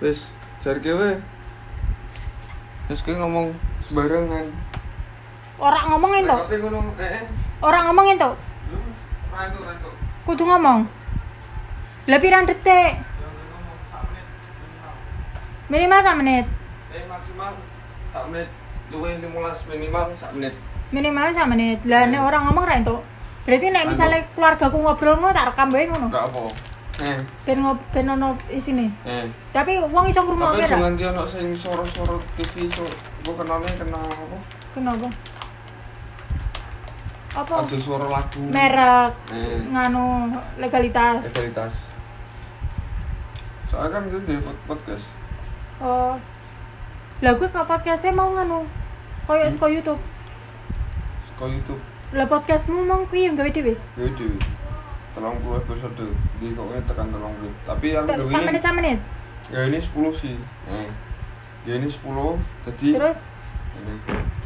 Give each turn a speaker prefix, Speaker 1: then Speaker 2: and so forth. Speaker 1: terus Sergio we terus gue ngomong sembarangan
Speaker 2: Orang ngomongin tuh.
Speaker 1: Rekotnya ngono, eh eh
Speaker 2: Orang ngomongin tuh.
Speaker 1: lu rantu rantu
Speaker 2: Kudu ngomong. Lah pirang detik? Minimal sak menit.
Speaker 1: eh maksimal sak menit luwe 15 minimal sak menit
Speaker 2: Minimal sak menit. Lah nek orang ngomong ra entuk. Berarti nek misalnya keluargaku ngobrol ngono tak rekam wae ngono.
Speaker 1: enggak apa eh
Speaker 2: Ben ngob ben ono isine.
Speaker 1: eh
Speaker 2: Tapi wong iso
Speaker 1: tapi
Speaker 2: ngrungokke ra?
Speaker 1: jangan dia nak sing soro-soro TV so gue kenalnya kenal apa
Speaker 2: Kenapa? Apa?
Speaker 1: aja suara lagu
Speaker 2: Merek
Speaker 1: eh
Speaker 2: nganu legalitas.
Speaker 1: legalitas soalnya kan gue di pod- podcast
Speaker 2: Oh. Lah gue ke podcastnya mau nganu. Koyo saka YouTube.
Speaker 1: suka YouTube
Speaker 2: Lah podcastmu mau kuwi yang gawe dhewe.
Speaker 1: gue di terang puluh episode di koknya tekan terang puluh tapi yang
Speaker 2: Tek- Sak
Speaker 1: gue ini
Speaker 2: menit sak menit.
Speaker 1: ya ini 10 sih eh ya ini 10 jadi
Speaker 2: Terus
Speaker 1: ini